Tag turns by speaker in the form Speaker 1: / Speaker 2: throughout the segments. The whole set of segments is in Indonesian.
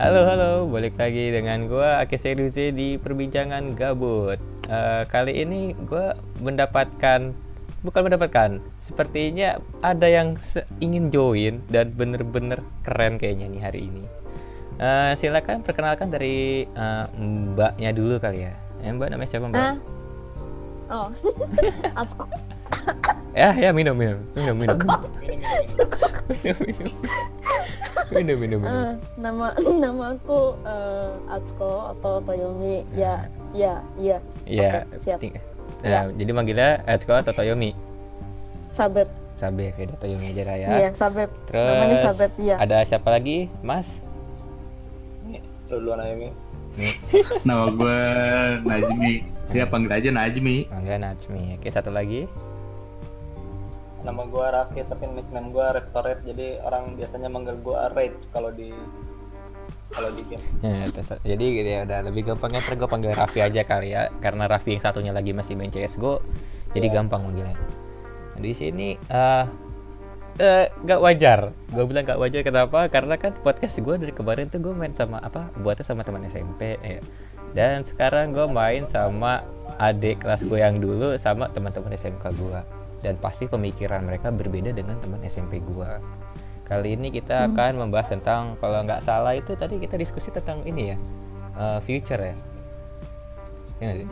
Speaker 1: Halo halo, balik lagi dengan gua Aki Seruze di perbincangan gabut. Eh, kali ini gua mendapatkan bukan mendapatkan, sepertinya ada yang se- ingin join dan bener-bener keren kayaknya nih hari ini. Eh, silakan perkenalkan dari eh, mbaknya dulu kali ya. Eh, mbak namanya siapa mbak?
Speaker 2: Hah? Oh, aku
Speaker 1: Ya ya minum minum minum minum.
Speaker 2: Cukup. cukup.
Speaker 1: minum minum minum minum minum.
Speaker 2: Eh, nama nama aku eh, Atsuko atau Toyomi. Ya, ya, ya.
Speaker 1: Iya.
Speaker 2: Oke, siap.
Speaker 1: Hmm.
Speaker 2: Iya.
Speaker 1: ting- Nah, Jadi manggilnya Etsuko atau Toyomi?
Speaker 2: Sabep.
Speaker 1: Sabe, beda Toyomi aja lah ya.
Speaker 2: Iya, Sabep.
Speaker 1: Terus
Speaker 2: Namanya Sabep, iya.
Speaker 1: ada siapa lagi, Mas?
Speaker 3: Lu duluan aja Mi
Speaker 4: Nama gue Najmi. Ya panggil aja Najmi.
Speaker 1: Manggil Oh, Najmi. Oke, satu lagi.
Speaker 3: Nama gue Raffi tapi nickname gue Reptorate Jadi orang biasanya manggil gue Raid kalau di kalau di game
Speaker 1: Ya, terus- jadi gitu ya udah lebih gampang ya gue panggil Raffi aja kali ya karena Raffi yang satunya lagi masih main CS:GO jadi gampang manggilnya. Nah, di sini eh eh, nggak wajar. Gue bilang nggak wajar kenapa? Karena kan podcast gue dari kemarin tuh gue main sama apa? Buatnya sama teman SMP ya. Dan sekarang gue main sama adik kelas gue yang dulu sama teman-teman SMK gue. Dan pasti pemikiran mereka berbeda dengan teman SMP gue. Kali ini kita akan membahas tentang kalau nggak salah itu tadi kita diskusi tentang ini ya eh, future ya. Iya nggak sih?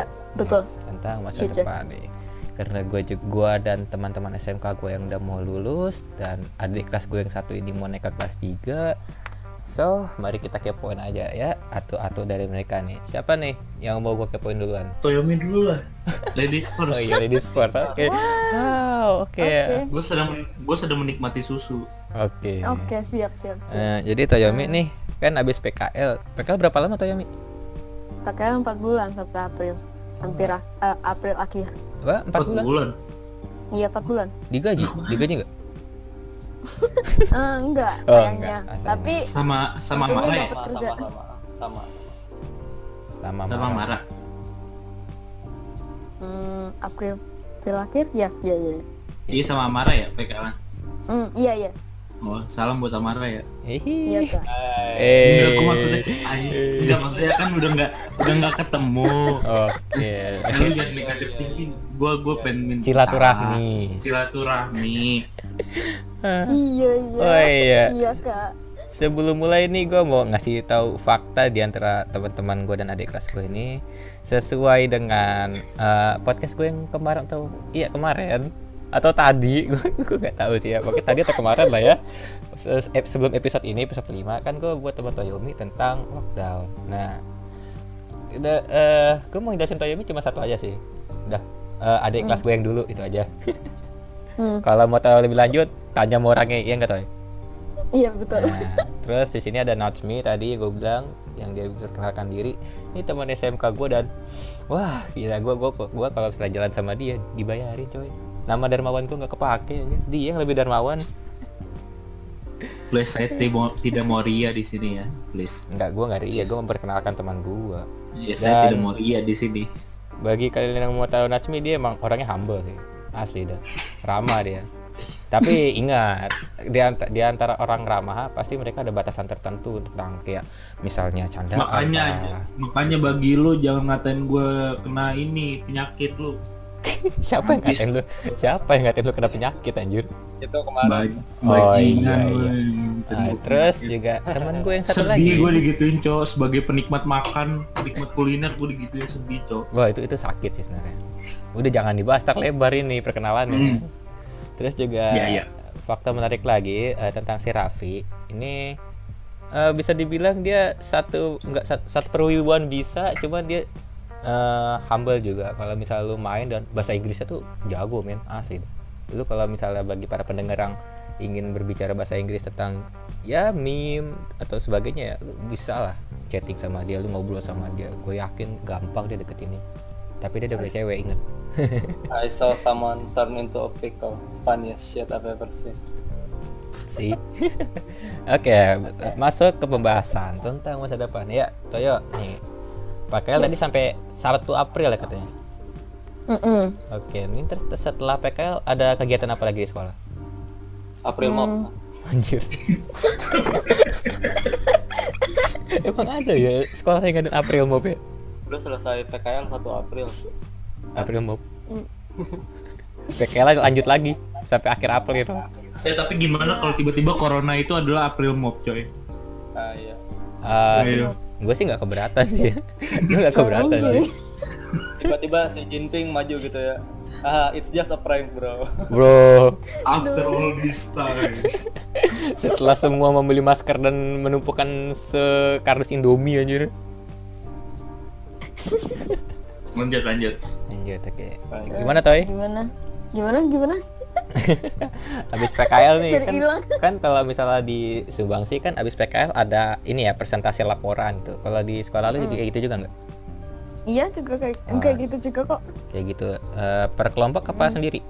Speaker 2: Ya, betul.
Speaker 1: tentang masa
Speaker 2: Future.
Speaker 1: depan nih karena gue juga gua dan teman-teman SMK gue yang udah mau lulus dan adik kelas gue yang satu ini mau naik ke kelas 3 so mari kita kepoin aja ya atu-atu dari mereka nih siapa nih yang mau gue kepoin duluan
Speaker 4: Toyomi dulu lah. Ladies first.
Speaker 1: oh iya ladies first oke wow oke
Speaker 2: Oke.
Speaker 4: Gue sedang gue sedang menikmati susu.
Speaker 1: oke
Speaker 2: Oke, siap, siap, siap.
Speaker 1: Eh, jadi Toyomi nih kan abis PKL PKL berapa lama Toyomi?
Speaker 2: Pakai 4 bulan sampai April. Hampir ak- eh, April akhir.
Speaker 1: Apa? 4 bulan?
Speaker 2: Iya, 4 bulan.
Speaker 1: Digaji? Digaji nggak?
Speaker 2: Eh, enggak,
Speaker 1: Oh,
Speaker 2: sayangnya.
Speaker 1: enggak. Ah, sayangnya.
Speaker 2: Tapi
Speaker 4: Sama sama
Speaker 2: Untungnya
Speaker 4: marah ya.
Speaker 2: dapat
Speaker 3: Sama
Speaker 2: kerja.
Speaker 3: sama sama sama
Speaker 1: Sama,
Speaker 4: Sama marah.
Speaker 2: hmm, April April akhir ya, ya, ya.
Speaker 4: Iya sama marah ya PKL.
Speaker 2: Hmm, iya, iya.
Speaker 4: Oh salam buat Amara ya.
Speaker 2: Iya,
Speaker 1: Hihi.
Speaker 2: Kak.
Speaker 3: Eh,
Speaker 4: Enggak,
Speaker 1: Eh.
Speaker 4: aku maksudnya, ay, enggak maksudnya kan udah nggak udah nggak ketemu.
Speaker 1: Oke.
Speaker 4: Kan lu jangan negatif thinking. Gue gue pengen minta
Speaker 1: Silaturahmi.
Speaker 4: Silaturahmi.
Speaker 2: Iya, iya.
Speaker 1: Oh iya.
Speaker 2: Iya, Kak.
Speaker 1: Sebelum mulai nih gue mau ngasih tahu fakta di antara teman-teman gue dan adik kelas gue ini sesuai dengan eh, podcast gue yang kemarin atau iya kemarin atau tadi gue nggak tahu sih ya pokoknya tadi atau kemarin lah ya Se- eh, sebelum episode ini episode 5 kan gue buat teman Toyomi tentang lockdown nah gue mau jelasin Toyomi cuma satu aja sih udah eh, adik kelas gue yang dulu itu aja
Speaker 2: Hmm,
Speaker 1: kalau mau tahu lebih lanjut tanya sama orangnya ya nggak Toy
Speaker 2: iya, betul.
Speaker 1: Nah, terus di sini ada Najmi tadi gue bilang yang dia perkenalkan diri. Ini teman SMK gue dan wah gila gue gue gue kalau misalnya jalan sama dia dibayarin coy. Nama dermawan gue nggak kepake aja. Dia yang lebih dermawan.
Speaker 4: Please saya tidak tidak mau ria di sini ya, please.
Speaker 1: Enggak gue nggak ria. Gue memperkenalkan teman gue.
Speaker 4: Ya saya
Speaker 1: Dan-
Speaker 4: tidak mau ria di sini.
Speaker 1: Bagi kalian yang mau tahu Najmi dia emang orangnya humble sih. Asli dah. Ramah dia. Tapi ingat, di, ant- di antara orang ramah pasti mereka ada batasan tertentu tentang kayak misalnya candaan.
Speaker 4: makanya
Speaker 1: lah.
Speaker 4: makanya bagi lu jangan ngatain gue kena ini penyakit lu
Speaker 1: Siapa yang ngatain lu? Siapa yang ngatain lu kena penyakit anjir?
Speaker 3: itu
Speaker 4: ba
Speaker 3: kemarin
Speaker 4: bajingan
Speaker 1: iya,
Speaker 4: lu
Speaker 1: iya.
Speaker 4: ngatain
Speaker 1: Ah,
Speaker 4: gua
Speaker 1: terus
Speaker 4: penyakit.
Speaker 1: juga temen gue yang satu lagi.
Speaker 4: sedih gue digituin cowok sebagai penikmat makan penikmat kuliner gue digituin sedih cowok
Speaker 1: Wah, itu itu sakit sih sebenarnya. Udah jangan dibahas, tak lebar ini perkenalannya. Terus juga
Speaker 4: Iya, iya.
Speaker 1: fakta menarik lagi eh, tentang si Raffi. Ini eh, bisa dibilang dia satu enggak satu, satu perwibuan bisa, cuman dia eh, humble juga. Kalau misalnya lu main dan bahasa Inggrisnya tuh jago, men. Asli. Lu kalau misalnya bagi para pendengar yang ingin berbicara bahasa Inggris tentang ya meme atau sebagainya ya, lu bisa lah chatting sama dia, lu ngobrol sama dia. Gue yakin gampang dia deket ini. Tapi dia udah punya cewek, inget.
Speaker 3: I saw someone turn into a pickle Funniest shit I've ever seen
Speaker 1: sih. Oke, masuk ke pembahasan tentang masa depan. Ya, Toyo nih. PKL tadi sampai 1 April ya katanya.
Speaker 2: Mm-mm.
Speaker 1: Oke, ini terus setelah PKL ada kegiatan apa lagi di sekolah? Hmm.
Speaker 3: April Mop
Speaker 1: Anjir. Emang ada ya sekolah yang ada April Mop ya?
Speaker 3: Lu selesai PKL 1 April.
Speaker 1: April Mop. PKL lanjut lagi sampai akhir April.
Speaker 4: Eh tapi gimana kalau tiba-tiba corona itu adalah April Mop coy?
Speaker 3: Ah iya.
Speaker 4: Ayo.
Speaker 1: gue Eh, sih nggak keberatan sih. gue nggak keberatan sih.
Speaker 3: Tiba-tiba si Jinping maju gitu ya. Ah, it's just a prank, bro.
Speaker 1: Bro,
Speaker 4: After all this time.
Speaker 1: setelah semua membeli masker dan menumpukan sekardus Indomie anjir.
Speaker 4: lanjut lanjut.
Speaker 1: Lanjut oke.
Speaker 3: Lanjut.
Speaker 1: Gimana Toy?
Speaker 2: Gimana? Gimana? Gimana?
Speaker 1: Abis PKL nih
Speaker 2: Jadi
Speaker 1: kan,
Speaker 2: hilang.
Speaker 1: kan kalau misalnya di Subangsi kan abis PKL ada ini ya presentasi laporan tuh. Kalau di sekolah
Speaker 2: Hmm.
Speaker 1: lu juga kayak gitu juga nggak?
Speaker 2: Iya juga kayak
Speaker 1: Ah.
Speaker 2: kayak gitu juga kok.
Speaker 1: Kayak gitu eh, per kelompok apa
Speaker 2: Hmm.
Speaker 1: sendiri?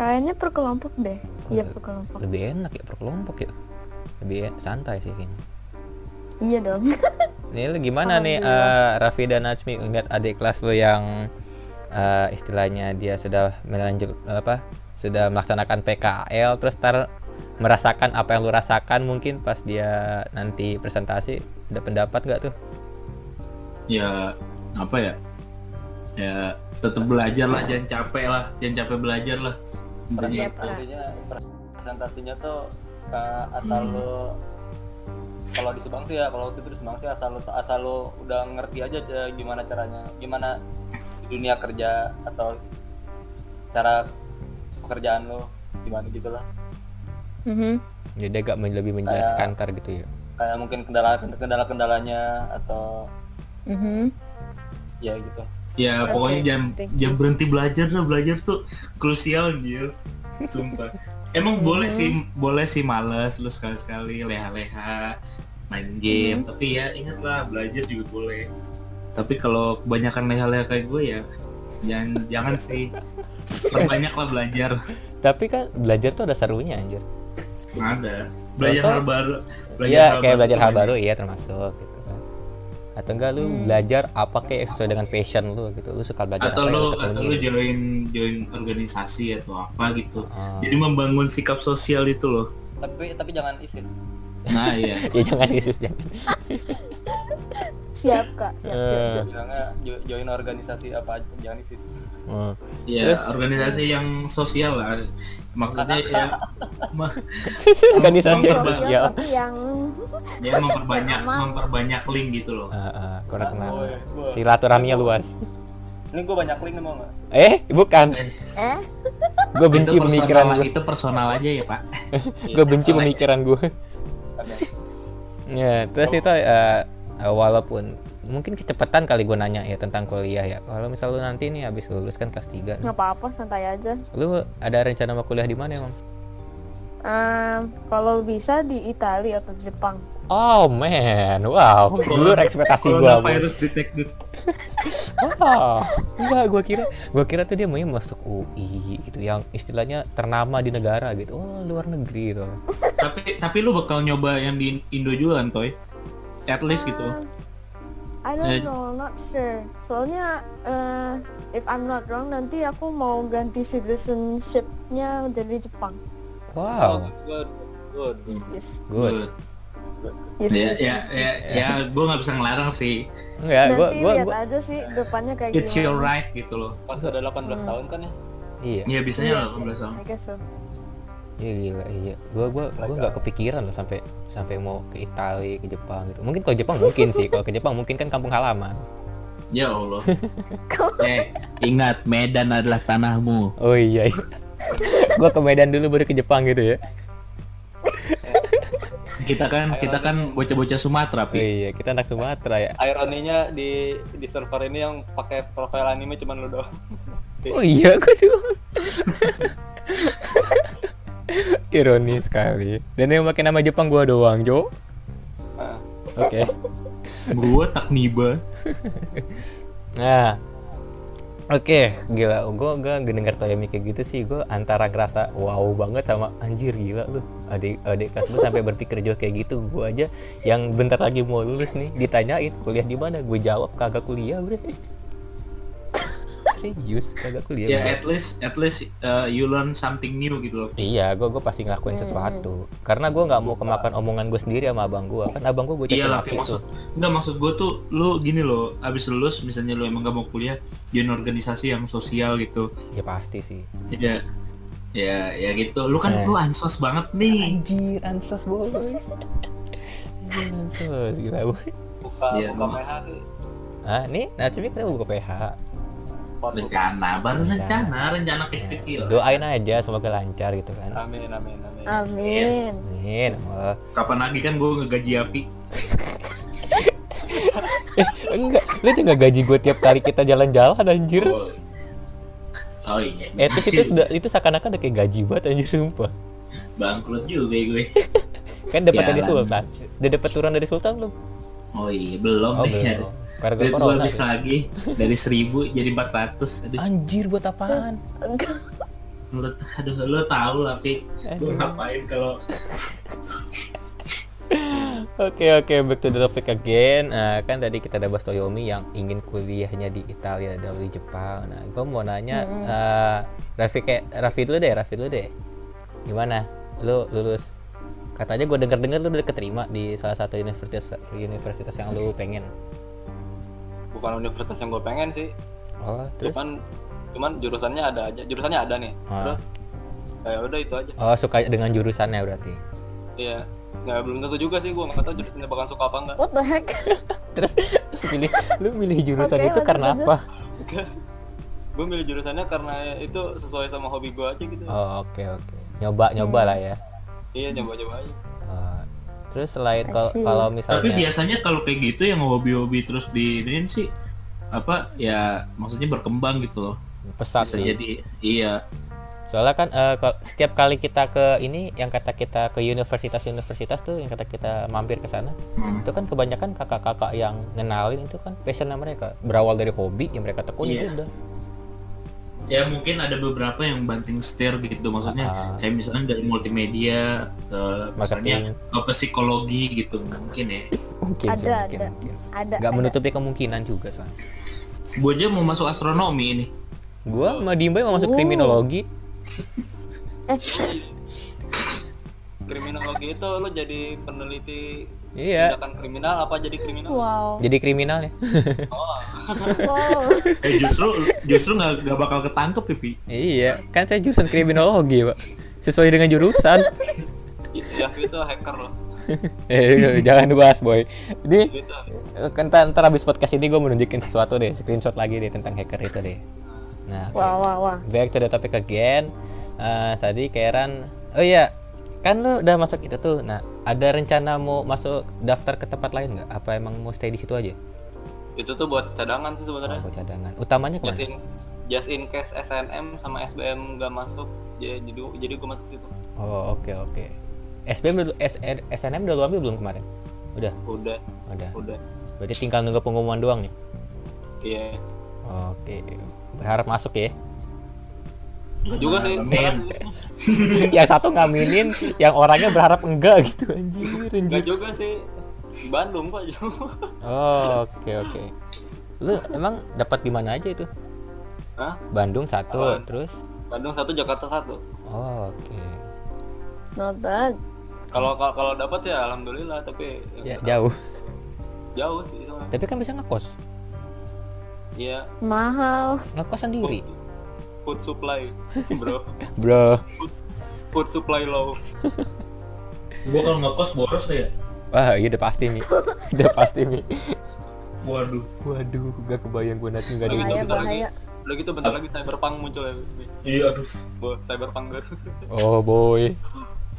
Speaker 2: Kayaknya per kelompok deh. Iya per kelompok.
Speaker 1: Lebih enak ya per kelompok ya. Lebih en- santai sih kayaknya.
Speaker 2: Iya dong.
Speaker 1: Ini lu gimana nih eh, Raffi dan Najmi ngeliat adik kelas lu yang eh, istilahnya dia sudah melanjut apa? Sudah melaksanakan PKL terus tar merasakan apa yang lu rasakan mungkin pas dia nanti presentasi ada pendapat nggak tuh?
Speaker 4: Ya apa ya? Ya tetap belajar lah, jangan capek lah, jangan capek belajar lah. Intinya.
Speaker 2: Siap, Kak.
Speaker 3: Presentasinya presentasinya tuh eh, asal lu kalau di Subang sih ya, kalau waktu itu di Subang sih asal lu asal lu udah ngerti aja eh, gimana caranya, gimana di dunia kerja atau cara pekerjaan lu gimana gitu lah.
Speaker 2: Mhm.
Speaker 1: Jadi agak men- lebih menjelaskan ntar gitu ya.
Speaker 3: Kayak mungkin kendala kendala-kendalanya atau
Speaker 2: Mhm.
Speaker 3: ya gitu.
Speaker 4: Ya pokoknya
Speaker 2: Oke,
Speaker 4: jangan
Speaker 2: thank
Speaker 4: jangan berhenti belajar lah, belajar tuh krusial gitu. Sumpah. Emang boleh sih
Speaker 1: Mm-hmm.
Speaker 4: boleh sih males lu sekali-sekali leha-leha main
Speaker 1: Mm-hmm.
Speaker 4: game, tapi ya ingatlah belajar juga boleh. Tapi kalau kebanyakan leha-leha kayak gue ya jangan jangan sih perbanyaklah belajar.
Speaker 1: Tapi kan belajar tuh ada serunya anjir.
Speaker 4: Nggak ada. Belajar
Speaker 1: Contoh?
Speaker 4: hal baru.
Speaker 1: Iya, kayak belajar hal
Speaker 4: tuh
Speaker 1: baru iya termasuk gitu kan. Atau enggak
Speaker 4: Hmm.
Speaker 1: lu belajar apa kayak sesuai dengan passion lu gitu. Lu suka belajar apa
Speaker 4: atau
Speaker 1: gitu.
Speaker 4: lu
Speaker 1: yang tekuni.
Speaker 4: atau lu join join organisasi atau apa gitu
Speaker 1: Ah.
Speaker 4: jadi membangun sikap sosial itu loh
Speaker 3: Tapi tapi jangan ISIS.
Speaker 4: nah iya
Speaker 1: Ya jangan Yesus jangan.
Speaker 2: Siap kak. Siap siap.
Speaker 1: Eh,
Speaker 2: siap.
Speaker 3: Bilangnya jo- join organisasi apa aja, jangan ISIS.
Speaker 1: Hmm.
Speaker 4: ya
Speaker 1: Terus?
Speaker 4: organisasi yang sosial lah maksudnya ya, ma-
Speaker 1: Organisasi Iya.
Speaker 4: Yang
Speaker 2: Sosial,
Speaker 1: sosial.
Speaker 2: tapi yang
Speaker 4: ya memperbanyak memperbanyak link gitu loh
Speaker 1: Ah, ah, kurang kenal.
Speaker 3: Gue- gue-
Speaker 1: Silaturahminya luas.
Speaker 3: Ini gue banyak link nih mau nggak?
Speaker 1: Eh, bukan.
Speaker 4: Eh,
Speaker 2: eh
Speaker 1: Gue benci
Speaker 4: itu personal-
Speaker 1: pemikiran gue.
Speaker 4: itu personal aja ya pak
Speaker 1: Gue benci pemikiran gue.
Speaker 3: Ada.
Speaker 1: Ya, terus itu eh, eh, walaupun mungkin kecepatan kali gue nanya ya tentang kuliah ya. Kalau misal lu nanti nih habis lulus kan kelas 3
Speaker 2: nggak apa-apa santai aja.
Speaker 1: Lu ada rencana mau kuliah di mana emang?
Speaker 2: Ehm, kalau bisa di Italia atau Jepang.
Speaker 1: Oh man, wow. Dulu ekspektasi gue.
Speaker 4: Corona virus detected
Speaker 1: Wow. Enggak, gue kira gua kira tuh dia mau masuk UI gitu yang istilahnya ternama di negara gitu. Oh, luar negeri tuh.
Speaker 4: tapi tapi lu bakal nyoba yang di Indo juga kan toy at least gitu
Speaker 2: Uh, I
Speaker 4: Eh.
Speaker 2: don't know, not sure. Soalnya eh, if I'm not wrong nanti aku mau ganti citizenship-nya jadi Jepang.
Speaker 1: Wow.
Speaker 3: Good, good.
Speaker 2: Yes.
Speaker 1: Good.
Speaker 2: Yes. yes,
Speaker 4: ya ya
Speaker 2: yes.
Speaker 4: ya, ya gue nggak bisa ngelarang sih
Speaker 1: Enggak,
Speaker 2: Nanti
Speaker 1: Eh, gua gua
Speaker 2: lihat
Speaker 1: gua
Speaker 2: aja sih depannya kayak
Speaker 4: it's your
Speaker 2: gimana.
Speaker 4: right gitu loh
Speaker 3: Pas udah 18 tahun kan ya?
Speaker 1: iya.
Speaker 4: ya
Speaker 2: Iya
Speaker 4: biasanya
Speaker 2: sih,
Speaker 4: 18 tahun
Speaker 2: I guess so.
Speaker 1: Iya gila, iya. Gua gua gua nggak kepikiran loh sampai sampai mau ke Italia, ke Jepang gitu. Mungkin kalau Jepang mungkin sih, kalau ke Jepang mungkin kan kampung halaman.
Speaker 4: Ya Allah. eh, ingat Medan adalah tanahmu.
Speaker 1: Oh iya. iya. gua ke Medan dulu baru ke Jepang gitu ya.
Speaker 4: Kita kan kita kan bocah-bocah Sumatera,
Speaker 1: Oh,
Speaker 4: Pi.
Speaker 1: iya, kita anak Sumatera ya.
Speaker 3: Ironinya di di server ini yang pakai profil anime cuman lu doang.
Speaker 1: Oh iya, gua doang. Ironis sekali. Dan yang pakai nama Jepang gua doang, Jo.
Speaker 3: Nah,
Speaker 1: Oke.
Speaker 4: Gua Takniba.
Speaker 1: Nah. Oke, gila. Gue gak denger Toyomi kayak gitu sih. Gue antara ngerasa wow banget sama anjir gila lu. Adik adik kelas gue sampai berpikir juga kayak gitu. Gue aja yang bentar lagi mau lulus nih ditanyain kuliah di mana. Gue jawab kagak kuliah, Bre. serius kagak kuliah
Speaker 4: ya
Speaker 1: gua.
Speaker 4: at least at least uh, you learn something new gitu loh
Speaker 1: Iya, gue gue pasti ngelakuin
Speaker 2: Hmm.
Speaker 1: sesuatu. Karena gue nggak mau kemakan omongan gue sendiri sama abang gue. Kan abang gue gue caci
Speaker 4: Iya lah,
Speaker 1: maki
Speaker 4: Fi,
Speaker 1: tuh.
Speaker 4: maksud Enggak maksud gue tuh lu gini loh Abis lulus misalnya lu emang gak mau kuliah Join organisasi yang sosial gitu
Speaker 1: Ya pasti sih.
Speaker 4: Ya Ya ya gitu Lu kan
Speaker 1: Eh.
Speaker 4: lu ansos banget nih
Speaker 1: Anjir, ansos boy. Anjir, ansos gila boy.
Speaker 3: buka
Speaker 4: Iya,
Speaker 3: buka
Speaker 4: lu-
Speaker 3: PH sih
Speaker 1: Ah, nih, nah cumi kita buka PH.
Speaker 3: Pot-
Speaker 4: Rencana, baru
Speaker 1: Rencana.
Speaker 4: rencana, rencana
Speaker 1: Ya,
Speaker 4: kecil-kecil
Speaker 1: Doain aja semoga lancar gitu kan.
Speaker 3: amin amin amin
Speaker 2: Ah. Amin.
Speaker 1: Amin. Eh, Allah.
Speaker 4: Kapan lagi kan gue ngegaji Avi
Speaker 1: Enggak, lu udah nggak gaji gue tiap kali kita jalan-jalan anjir.
Speaker 4: Oh, oh iya
Speaker 1: Eh terus itu sudah itu seakan-akan udah kayak gaji banget anjir sumpah.
Speaker 4: Bangkrut juga gue
Speaker 1: Kan dapat dari
Speaker 4: Sialan.
Speaker 1: Sultan. Udah dapat turun dari Sultan belum?
Speaker 4: Oh iya, belum
Speaker 1: Oh,
Speaker 4: nih
Speaker 1: belum. Karena
Speaker 4: Duit gue
Speaker 1: corona.
Speaker 4: habis lagi dari 1000 jadi 400 Aduh,
Speaker 1: Anjir buat apaan?
Speaker 2: Enggak.
Speaker 4: lu, aduh, lu tau lah, Pi
Speaker 1: Aduh.
Speaker 4: Gue ngapain kalau
Speaker 1: Oke oke back to the topic again. Nah, kan tadi kita ada bahas Toyomi yang ingin kuliahnya di Italia atau di Jepang. Nah, gue mau nanya
Speaker 2: Mm-mm.
Speaker 1: eh, Raffi kayak Raffi dulu deh, Raffi dulu deh. Gimana? Lu lulus? Katanya gue denger dengar lu udah keterima di salah satu universitas universitas yang lu pengen.
Speaker 3: bukan universitas yang gue pengen sih
Speaker 1: Oh terus?
Speaker 3: cuman cuman jurusannya ada aja jurusannya ada nih
Speaker 1: Ah.
Speaker 3: terus kayak udah itu aja
Speaker 1: Oh suka dengan jurusannya berarti.
Speaker 3: iya nggak belum tentu juga sih gue nggak tahu jurusannya bakal suka apa enggak
Speaker 2: What the heck?
Speaker 1: Terus pilih lu milih jurusan
Speaker 2: Oke,
Speaker 1: itu
Speaker 2: lanjut,
Speaker 1: karena
Speaker 2: lanjut.
Speaker 1: apa?
Speaker 3: gue milih jurusannya karena itu sesuai sama hobi gue aja gitu
Speaker 1: Oh oke oke. Nyoba nyoba lah ya.
Speaker 3: iya nyoba-nyoba aja
Speaker 1: Oh, terus selain
Speaker 2: I
Speaker 1: kalau
Speaker 2: see.
Speaker 1: kalau
Speaker 4: Tapi
Speaker 1: misalnya
Speaker 4: biasanya kalau kayak gitu yang hobi-hobi terus di ini sih apa ya maksudnya berkembang gitu loh.
Speaker 1: pesat
Speaker 4: Bisa
Speaker 1: sih.
Speaker 4: jadi iya.
Speaker 1: Soalnya kan eh, kalau setiap kali kita ke ini yang kata kita ke universitas-universitas tuh yang kata kita mampir ke sana,
Speaker 4: Hmm.
Speaker 1: itu kan kebanyakan kakak-kakak yang ngenalin itu kan passionnya mereka berawal dari hobi yang mereka tekuni
Speaker 4: Iya.
Speaker 1: itu udah.
Speaker 4: Ya mungkin ada beberapa yang banting setir gitu maksudnya
Speaker 1: Ah.
Speaker 4: kayak misalnya dari multimedia ke misalnya ke psikologi gitu mungkin ya.
Speaker 1: Mungkin sih,
Speaker 2: Ada,
Speaker 1: mungkin,
Speaker 2: ada.
Speaker 1: mungkin.
Speaker 2: Ada.
Speaker 1: Nggak
Speaker 2: ada.
Speaker 1: menutupi kemungkinan juga soalnya.
Speaker 4: Gue aja mau masuk astronomi ini.
Speaker 1: Gua sama Dimba mau masuk
Speaker 2: Oh.
Speaker 1: kriminologi.
Speaker 2: Eh,
Speaker 3: kriminologi itu lo jadi peneliti
Speaker 1: Iya.
Speaker 3: tindakan kriminal apa jadi kriminal
Speaker 2: Wow.
Speaker 1: Jadi kriminal ya.
Speaker 2: Wow.
Speaker 4: Eh justru justru nggak nggak bakal ketangkep ya, pipi.
Speaker 1: iya, kan saya jurusan kriminologi, Pak. Sesuai dengan jurusan.
Speaker 3: ya itu hacker lo
Speaker 1: eh, jangan dibahas, boy. Ini
Speaker 3: gitu
Speaker 1: Eh, Ntar, ntar abis podcast ini gue menunjukin sesuatu deh, screenshot lagi deh tentang hacker itu deh. Nah,
Speaker 2: Wah, wah, wah.
Speaker 1: back to the topic again. Eh, tadi Karen, oh iya, kan lu udah masuk itu tuh. Nah, ada rencana mau masuk daftar ke tempat lain nggak? Apa emang mau stay di situ aja?
Speaker 3: itu tuh buat cadangan sih sebenarnya
Speaker 1: Oh, buat cadangan. Utamanya
Speaker 3: just
Speaker 1: kemana?
Speaker 3: in just in case SNM sama SBM gak masuk ya, jadi jadi, jadi gue masuk situ
Speaker 1: Oh, oke oke. SBM udah- SN SNM udah lu ambil belum kemarin? Udah,
Speaker 3: udah
Speaker 1: udah.
Speaker 3: udah
Speaker 1: Berarti tinggal nunggu pengumuman doang nih.
Speaker 3: iya
Speaker 1: Oke, berharap masuk ya.
Speaker 3: juga sih
Speaker 4: Amin.
Speaker 1: yang satu ngaminin, yang orangnya berharap enggak gitu anjir, anjir.
Speaker 3: Gak juga sih di Bandung kok jauh
Speaker 1: Oh, oke oke. Lu emang dapat di mana aja itu?
Speaker 3: Hah?
Speaker 1: Bandung satu,
Speaker 3: Apaan?
Speaker 1: terus
Speaker 3: Bandung satu Jakarta satu
Speaker 1: oh, oke.
Speaker 2: Not bad.
Speaker 3: kalau kalau kalau dapat ya alhamdulillah tapi
Speaker 1: Ya jauh.
Speaker 3: jauh sih soalnya.
Speaker 1: Tapi kan bisa ngekos.
Speaker 3: iya
Speaker 2: Mahal.
Speaker 1: Ngekos sendiri,
Speaker 3: food, food supply bro
Speaker 1: Bro.
Speaker 3: food supply low
Speaker 4: Gue kalau ngekos boros ya.
Speaker 1: Wah, iya udah pasti nih. udah pasti nih.
Speaker 4: Waduh.
Speaker 1: Waduh, gak kebayang gue nanti gak
Speaker 3: Udah gitu,
Speaker 2: Bahaya,
Speaker 3: bentar lagi-
Speaker 2: bahaya.
Speaker 3: udah gitu bentar lagi cyberpunk muncul ya
Speaker 4: Iya aduh.
Speaker 3: Bo, cyberpunk gitu
Speaker 1: Oh, boy.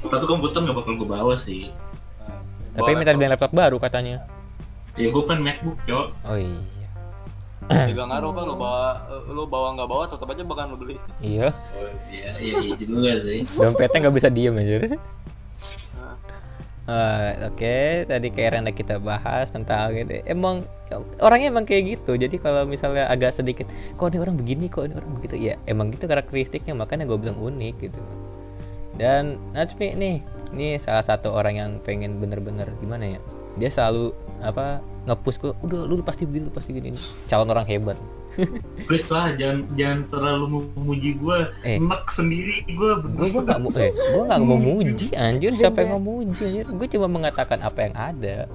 Speaker 4: Tapi komputer nggak bakal gue bawa sih.
Speaker 1: Tapi minta beli laptop baru katanya.
Speaker 4: Ya gue pengen MacBook cok.
Speaker 1: Oh iya.
Speaker 4: Eh.
Speaker 3: Gak ngaruh kan lo bawa lo bawa nggak bawa tetap aja bakal lo beli
Speaker 1: Iya,
Speaker 4: Oh, Iya iya iya juga sih.
Speaker 1: dompetnya nggak bisa diem anjir.
Speaker 3: Nah,
Speaker 1: Eh, Oke, tadi kayak Renda kita bahas tentang gitu. Emang orangnya emang kayak gitu. Jadi kalau misalnya agak sedikit, kok ini orang begini, kok ini orang begitu, ya emang gitu karakteristiknya. Makanya gue bilang unik gitu. Dan Najmi nih, ini salah satu orang yang pengen bener-bener gimana ya? dia selalu apa ngepush gue udah lu pasti begini lu pasti gini calon orang hebat
Speaker 4: please lah jangan jangan terlalu memuji gue
Speaker 1: Eh.
Speaker 4: enak sendiri gue
Speaker 1: gue gue nggak mau eh gue nggak mau muji
Speaker 4: Iya,
Speaker 1: anjir siapa yang mau muji anjir gue cuma mengatakan apa yang ada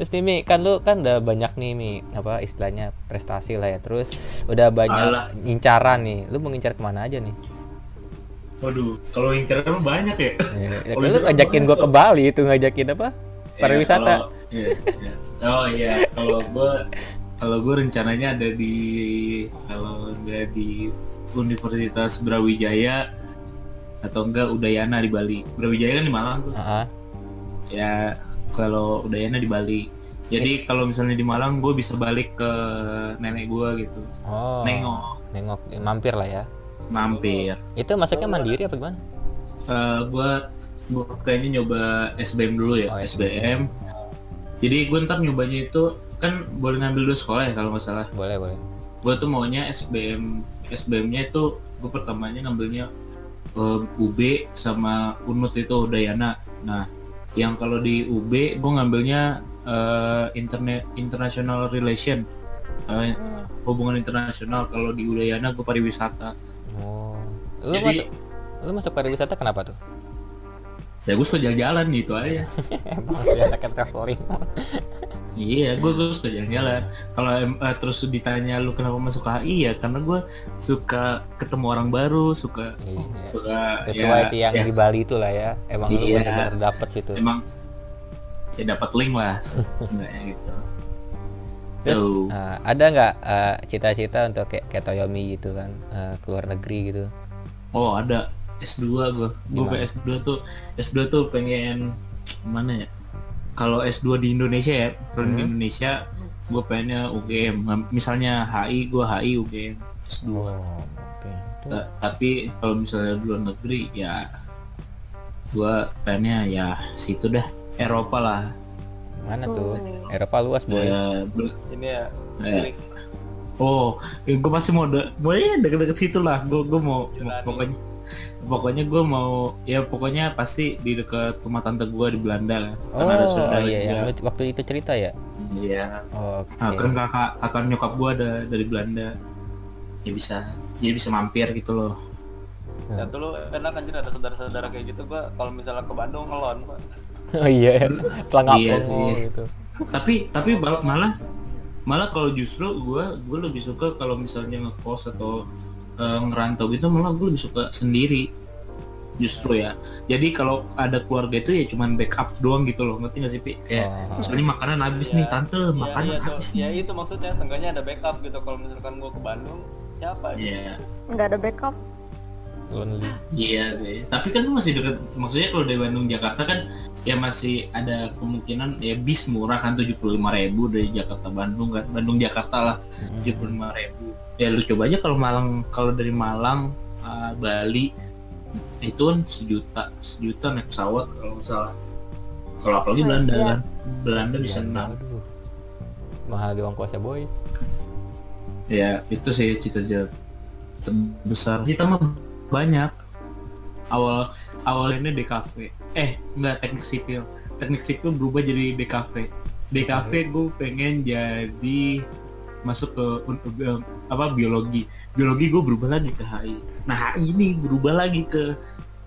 Speaker 1: terus nih Mi, kan lu kan udah banyak nih Mi, apa istilahnya prestasi lah ya terus udah banyak
Speaker 4: Alah.
Speaker 1: incaran nih lu mau ngincar kemana aja nih
Speaker 4: waduh kalau incer emang banyak ya
Speaker 1: Eh,
Speaker 4: Kalau
Speaker 1: lu
Speaker 4: incaran
Speaker 1: ngajakin
Speaker 4: banyak
Speaker 1: gue ke Bali itu ngajakin apa pariwisata
Speaker 4: iya. kalau- iya, iya. oh iya kalau gue kalau gue rencananya ada di kalau nggak di Universitas Brawijaya atau enggak Udayana di Bali Brawijaya kan di Malang tuh
Speaker 1: Ah, ah.
Speaker 4: ya kalau Udayana di Bali
Speaker 1: Iya.
Speaker 4: jadi kalau misalnya di Malang gue bisa balik ke nenek gue gitu
Speaker 1: oh
Speaker 4: nengok
Speaker 1: nengok mampir lah ya
Speaker 4: mampir
Speaker 1: itu masuknya mandiri apa gimana
Speaker 4: Eh, gua gue kayaknya nyoba SBM dulu ya
Speaker 1: Oh,
Speaker 4: SBM. Jadi gue ntar nyobanya itu kan boleh ngambil dua sekolah ya kalau nggak salah.
Speaker 1: boleh boleh
Speaker 4: Gue tuh maunya SBM SBM-nya itu gue pertamanya ngambilnya eh, UB sama Unut itu Dayana. Nah yang kalau di UB gue ngambilnya eh, interne- international relation Eh,
Speaker 2: Hmm.
Speaker 4: hubungan internasional. Kalau di Udayana gue pariwisata.
Speaker 1: oh lu
Speaker 4: Jadi-
Speaker 1: masuk lu masuk pariwisata kenapa tuh
Speaker 4: Ya gue suka jalan-jalan gitu aja.
Speaker 1: emang sih anaknya traveling
Speaker 4: Iya, gue gue suka jalan-jalan. Kalau em- eh, terus ditanya lu kenapa masuk HI ya, karena gue suka ketemu orang baru, suka
Speaker 1: Iya.
Speaker 4: suka
Speaker 1: sesuai
Speaker 4: ya,
Speaker 1: sih yang
Speaker 4: ya,
Speaker 1: di Bali itu lah ya emang lu
Speaker 4: Iya.
Speaker 1: benar-benar dapet situ
Speaker 4: emang ya dapat link lah, sebenarnya gitu.
Speaker 1: Terus,
Speaker 4: Tuh.
Speaker 1: eh, ada nggak eh, cita-cita untuk kayak kayak Toyomi gitu kan eh, keluar negeri gitu
Speaker 4: Oh ada S2 gue, gue
Speaker 1: Gimana?
Speaker 4: S2 tuh S2 tuh pengen mana ya? Kalau S2 di Indonesia ya, kalau di
Speaker 1: Hmm.
Speaker 4: Indonesia gue pengennya UGM, Ngam- misalnya HI gue HI UGM S2.
Speaker 1: oke
Speaker 4: Ta- tapi kalau misalnya di luar negeri ya gua pengennya ya situ dah Eropa lah
Speaker 1: mana tuh
Speaker 2: Hmm.
Speaker 1: Eropa luas boy
Speaker 4: Eh, bel-
Speaker 3: ini ya
Speaker 4: eh,
Speaker 3: link
Speaker 4: oh ya gua pasti mau de mau ya deket-deket situ lah gua gua mau
Speaker 1: Iya,
Speaker 3: Jelani.
Speaker 4: pokoknya pokoknya gua mau ya pokoknya pasti di dekat rumah tante gua di Belanda
Speaker 1: oh,
Speaker 4: karena kan ada saudara
Speaker 1: iya
Speaker 4: juga.
Speaker 1: yang lu waktu itu cerita ya
Speaker 4: iya
Speaker 1: Oh, oke
Speaker 4: nah, kan kakak kakak nyokap gua ada dari Belanda ya bisa jadi bisa mampir gitu loh Hmm.
Speaker 3: ya tuh lu enak anjir ada saudara-saudara kayak gitu gua kalau misalnya ke Bandung ngelon Pak.
Speaker 1: oh iya pelangap
Speaker 4: Iya
Speaker 1: lu,
Speaker 4: sih.
Speaker 1: gitu
Speaker 4: tapi tapi mal- malah malah kalau justru gua gue lebih suka kalau misalnya ngekos atau eh, ngerantau gitu malah gue lebih suka sendiri justru ya jadi kalau ada keluarga itu ya cuman backup doang gitu loh ngerti nggak sih pi ya
Speaker 1: Oh.
Speaker 4: misalnya makanan habis nih
Speaker 3: Iya.
Speaker 4: tante
Speaker 3: Iya,
Speaker 4: makanan
Speaker 3: iya, tuh.
Speaker 4: habis
Speaker 3: ya
Speaker 4: nih
Speaker 3: itu maksudnya seenggaknya ada backup gitu kalau misalkan gua ke Bandung siapa ya?
Speaker 4: Iya,
Speaker 2: nggak ada backup
Speaker 1: lonely
Speaker 4: iya sih. Tapi kan lu masih deket, maksudnya kalau dari Bandung Jakarta kan ya masih ada kemungkinan ya bis murah kan 75.000 dari Jakarta Bandung kan, Bandung Jakarta lah.
Speaker 1: Mm.
Speaker 4: 75.000 ya lu coba aja kalau Malang kalau dari Malang uh, Bali itu kan sejuta sejuta naik pesawat kalau nggak salah kalau apalagi
Speaker 2: Oh,
Speaker 4: Belanda
Speaker 2: iya.
Speaker 4: kan Belanda bisa
Speaker 1: Ya,
Speaker 4: enam
Speaker 1: aduh. mahal doang kuasa boy
Speaker 4: ya itu sih cita-cita terbesar cita mah banyak awal awalnya DKV eh enggak teknik sipil teknik sipil berubah jadi DKV DKV gue pengen jadi masuk ke un- eh, apa biologi biologi gue berubah lagi ke HI nah HI ini berubah lagi ke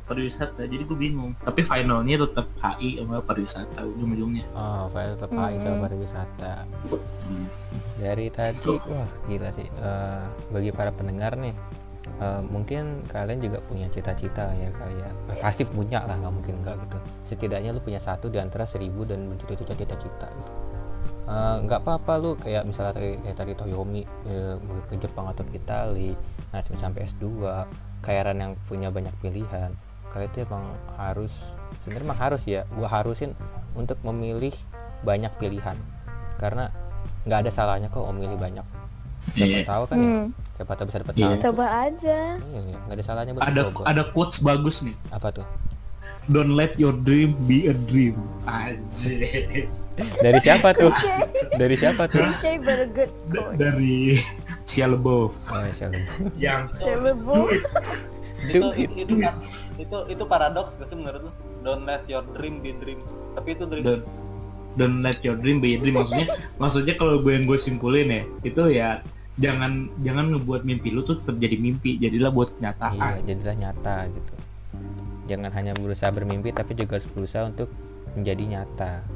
Speaker 4: pariwisata jadi gue bingung tapi finalnya tetap HI sama pariwisata ujung-ujungnya
Speaker 1: oh Fael tetap high sama pariwisata
Speaker 4: Hmm.
Speaker 1: dari tadi wah gila sih Eh, bagi para pendengar nih eh, mungkin kalian juga punya cita-cita ya kalian pasti punya lah nggak mungkin nggak gitu setidaknya lu punya satu di antara seribu dan berjuta-juta cita-cita gitu. Eh, nggak apa-apa lu kayak misalnya tadi, kayak tadi Toyomi eh, mau ke Jepang atau ke Itali nah sampai- sampai S2 kairan yang punya banyak pilihan kalian itu emang harus sebenarnya emang harus ya gua harusin untuk memilih banyak pilihan karena nggak ada salahnya kok om milih banyak siapa
Speaker 4: Iya.
Speaker 1: tahu kan ya
Speaker 2: Hmm,
Speaker 1: siapa tahu bisa dapat
Speaker 4: Iya.
Speaker 1: satu
Speaker 2: coba aja
Speaker 1: Iya, iya. nggak ada salahnya buat
Speaker 4: ada
Speaker 1: dicoba.
Speaker 4: ada quotes bagus nih
Speaker 1: apa tuh
Speaker 4: Don't let your dream be a dream. Anjir.
Speaker 1: dari siapa tuh dari siapa tuh
Speaker 2: Shay but a good
Speaker 4: D-
Speaker 2: coach
Speaker 4: Dari Shia
Speaker 1: oh,
Speaker 4: LaBeouf
Speaker 1: Masya Allah.
Speaker 4: yang
Speaker 2: Celebo
Speaker 3: itu
Speaker 1: Duit.
Speaker 3: itu
Speaker 4: Iya.
Speaker 3: itu, par- itu itu paradoks gak sih menurut lu don't let your dream be dream tapi itu dream
Speaker 4: don't, don't let your dream be a dream maksudnya maksudnya kalau gue yang gue simpulin ya itu ya jangan jangan ngebuat mimpi lu tuh tetap jadi mimpi jadilah buat
Speaker 1: iya
Speaker 4: kenyataan
Speaker 1: jadilah nyata gitu jangan hanya berusaha bermimpi tapi juga harus berusaha untuk menjadi nyata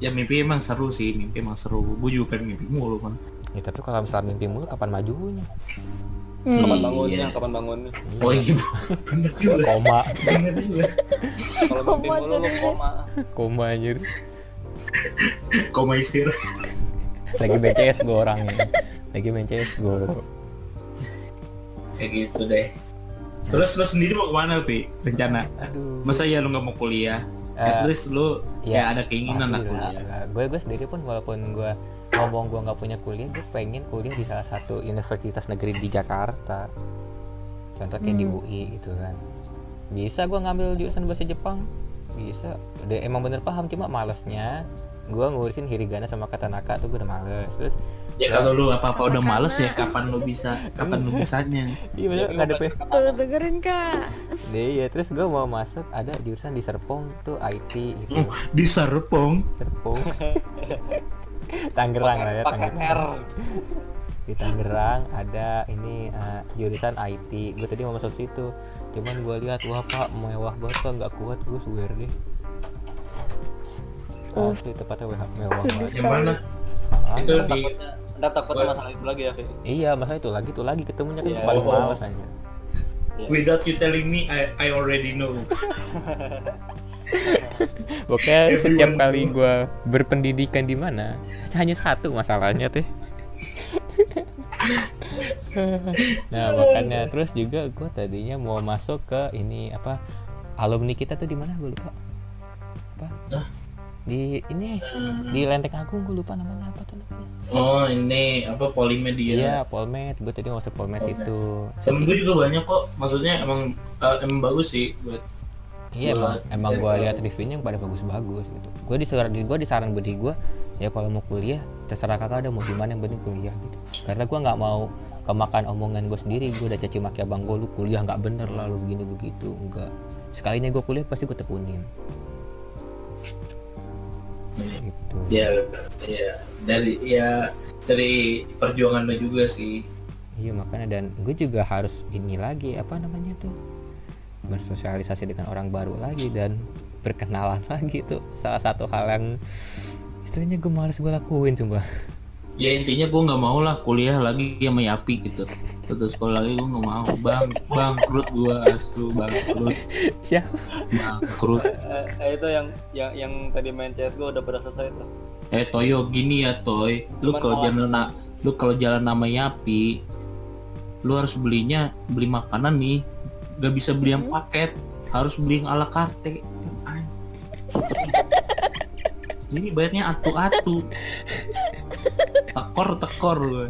Speaker 4: ya mimpi emang seru sih mimpi emang seru gue juga pengen mimpi mulu kan
Speaker 1: ya tapi kalau misalnya mimpi mulu kapan majunya
Speaker 3: kapan
Speaker 4: Iya.
Speaker 3: bangunnya kapan bangunnya
Speaker 4: oh iya bener juga
Speaker 1: koma
Speaker 4: bener juga
Speaker 3: kalau
Speaker 2: Koma
Speaker 3: mimpi mulu lu
Speaker 2: jadinya.
Speaker 3: koma
Speaker 1: koma anjir
Speaker 4: koma istirahat
Speaker 1: lagi BCS gue orangnya lagi BCS gue
Speaker 4: kayak gitu deh terus lu sendiri mau kemana pi rencana
Speaker 1: aduh
Speaker 4: masa ya lu nggak mau kuliah
Speaker 1: Eh,
Speaker 4: at least lu
Speaker 1: ya,
Speaker 4: ya ada keinginan lah
Speaker 1: Pasti
Speaker 4: kuliah
Speaker 1: lah. gue gue sendiri pun walaupun gue ngomong gue nggak punya kuliah gue pengen kuliah di salah satu universitas negeri di Jakarta contoh kayak di
Speaker 2: Hmm.
Speaker 1: UI gitu kan bisa gue ngambil jurusan bahasa Jepang bisa udah emang bener paham cuma malesnya gue ngurusin hiragana sama katanaka tuh gue udah males terus
Speaker 4: ya kalau lu apa apa udah males ya kapan lu bisa kapan lu bisanya
Speaker 1: iya maksudnya nggak ada pe-
Speaker 2: Tuh dengerin kak.
Speaker 1: iya terus gue mau masuk ada jurusan di Serpong tuh IT gitu
Speaker 4: Hmm, di Serpong
Speaker 1: Serpong Tangerang lah ya
Speaker 3: pakai
Speaker 1: Tangerang
Speaker 3: R
Speaker 1: di Tangerang ada ini eh, jurusan IT gue tadi mau masuk situ cuman gue lihat wah pak mewah banget pak nggak kuat gue swear deh
Speaker 2: Oh.
Speaker 1: Asli tempatnya wah- mewah banget
Speaker 4: yang mana
Speaker 1: Ah,
Speaker 4: itu
Speaker 1: iya.
Speaker 4: di
Speaker 3: takutnya anda takut sama masalah itu lagi ya Fit?
Speaker 1: iya masalah itu lagi itu lagi ketemunya kan
Speaker 3: Iya.
Speaker 1: paling
Speaker 4: Oh.
Speaker 1: males aja
Speaker 4: without you telling me I, I already know
Speaker 1: Pokoknya
Speaker 4: Everyone setiap kali do.
Speaker 1: gue berpendidikan di mana hanya satu masalahnya teh. nah makanya terus juga gue tadinya mau masuk ke ini apa alumni kita tuh di mana gue lupa apa
Speaker 4: Hah?
Speaker 1: di ini di Lenteng Agung gue lupa namanya apa tuh namanya
Speaker 4: oh ini apa polimedia
Speaker 1: iya Polmed gue tadi mau masuk Polmed
Speaker 4: Polmed.
Speaker 1: itu
Speaker 4: temen gue juga banyak kok maksudnya emang eh, emang bagus sih buat
Speaker 1: Iya
Speaker 4: Gua-
Speaker 1: emang, emang gue
Speaker 4: dari-
Speaker 1: lihat reviewnya yang pada bagus-bagus gitu. Gue disaran gue disaran budi gue ya kalau mau kuliah terserah kakak ada mau di mana yang penting kuliah gitu. Karena gue nggak mau kemakan omongan gue sendiri. Gue udah caci maki abang gue lu kuliah nggak bener lalu begini begitu enggak. Sekalinya gue kuliah pasti gue tekunin gitu.
Speaker 4: ya ya dari ya dari perjuangan lo juga sih
Speaker 1: Iya makanya dan gue juga harus ini lagi apa namanya tuh bersosialisasi dengan orang baru lagi dan berkenalan lagi tuh salah satu hal yang istilahnya gue males gue lakuin sumpah
Speaker 4: ya intinya gue nggak mau lah kuliah lagi sama Yapi gitu terus sekolah lagi gue nggak mau bang bangkrut gue asu bangkrut
Speaker 1: siapa
Speaker 4: bangkrut
Speaker 3: Eh, eh, itu yang yang yang tadi main CS gue udah pada selesai tuh
Speaker 4: eh Toyo gini ya Toy lu
Speaker 3: Cuman
Speaker 4: kalau
Speaker 3: kalau-
Speaker 4: jalan na- lu kalau jalan sama Yapi lu harus belinya beli makanan nih gak bisa beli yang paket harus beli yang ala carte ini bayarnya atu-atu tekor tekor gue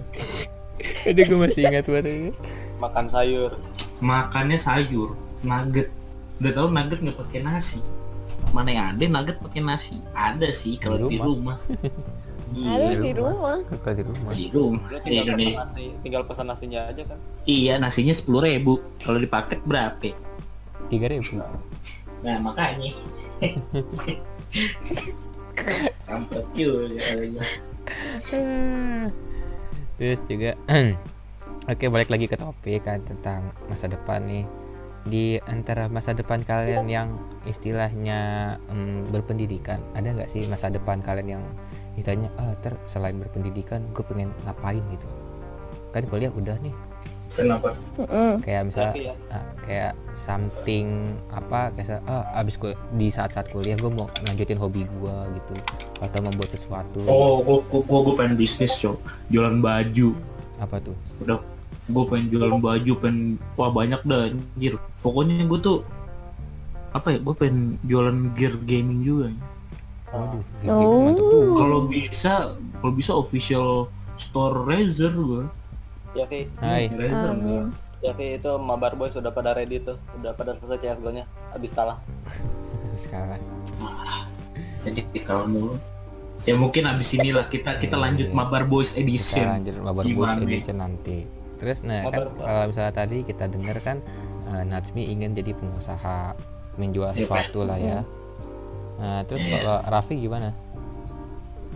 Speaker 1: Aduh gue masih ingat banget
Speaker 3: makan sayur
Speaker 4: makannya sayur nugget udah tahu nugget nggak pakai nasi mana yang ada nugget pakai nasi ada sih kalau
Speaker 1: Di
Speaker 4: di rumah
Speaker 2: Ada
Speaker 4: iya
Speaker 2: di rumah.
Speaker 1: Suka di rumah
Speaker 4: di rumah
Speaker 3: lu tinggal
Speaker 4: di
Speaker 3: pesan
Speaker 4: Indonesia
Speaker 3: nasi tinggal pesan nasinya aja kan
Speaker 4: iya nasinya sepuluh ribu kalau di paket berapa
Speaker 1: Tiga ribu
Speaker 4: nah makanya Kampret juga kayaknya.
Speaker 1: Terus juga Oke balik lagi ke topik kan Tentang masa depan nih Di antara masa depan kalian yang Istilahnya mm, berpendidikan Ada nggak sih masa depan kalian yang Istilahnya ah, ter selain berpendidikan Gue pengen ngapain gitu Kan kuliah udah nih
Speaker 4: kenapa
Speaker 2: Mm-mm.
Speaker 1: Kayak misalnya
Speaker 3: tapi ya
Speaker 1: ah, Kayak something Apa Kayak se- ah, abis kul- di saat-saat kuliah Gue mau lanjutin hobi gue gitu Atau membuat sesuatu
Speaker 4: oh gua gua gua, gua pengen bisnis cow jualan baju
Speaker 1: Apa tuh
Speaker 4: udah gue pengen jualan baju pengen wah banyak dah anjir pokoknya gue tuh apa ya gue pengen jualan gear gaming juga
Speaker 1: Waduh, gigi
Speaker 2: Oh.
Speaker 1: mantep tuh.
Speaker 4: kalau bisa kalau bisa official store Razer gue
Speaker 3: ya Fit
Speaker 1: Hai,
Speaker 4: Razer
Speaker 2: Amin.
Speaker 3: ya Fit itu Mabar Boy sudah pada ready tuh udah pada selesai CSGO nya habis kalah
Speaker 1: habis kalah.
Speaker 4: jadi kalau mulu ya mungkin abis inilah kita kita lanjut
Speaker 1: Iya.
Speaker 4: Mabar Boys
Speaker 1: Kita
Speaker 4: Edition
Speaker 1: lanjut Mabar Boys
Speaker 4: Gimana?
Speaker 1: edition nanti. Terus nah kan
Speaker 3: Mabar Boys.
Speaker 1: kalau misalnya tadi kita dengar kan eh, Najmi ingin jadi pengusaha menjual
Speaker 4: Iya,
Speaker 1: sesuatu lah ya. Nah, terus kalau Raffi gimana?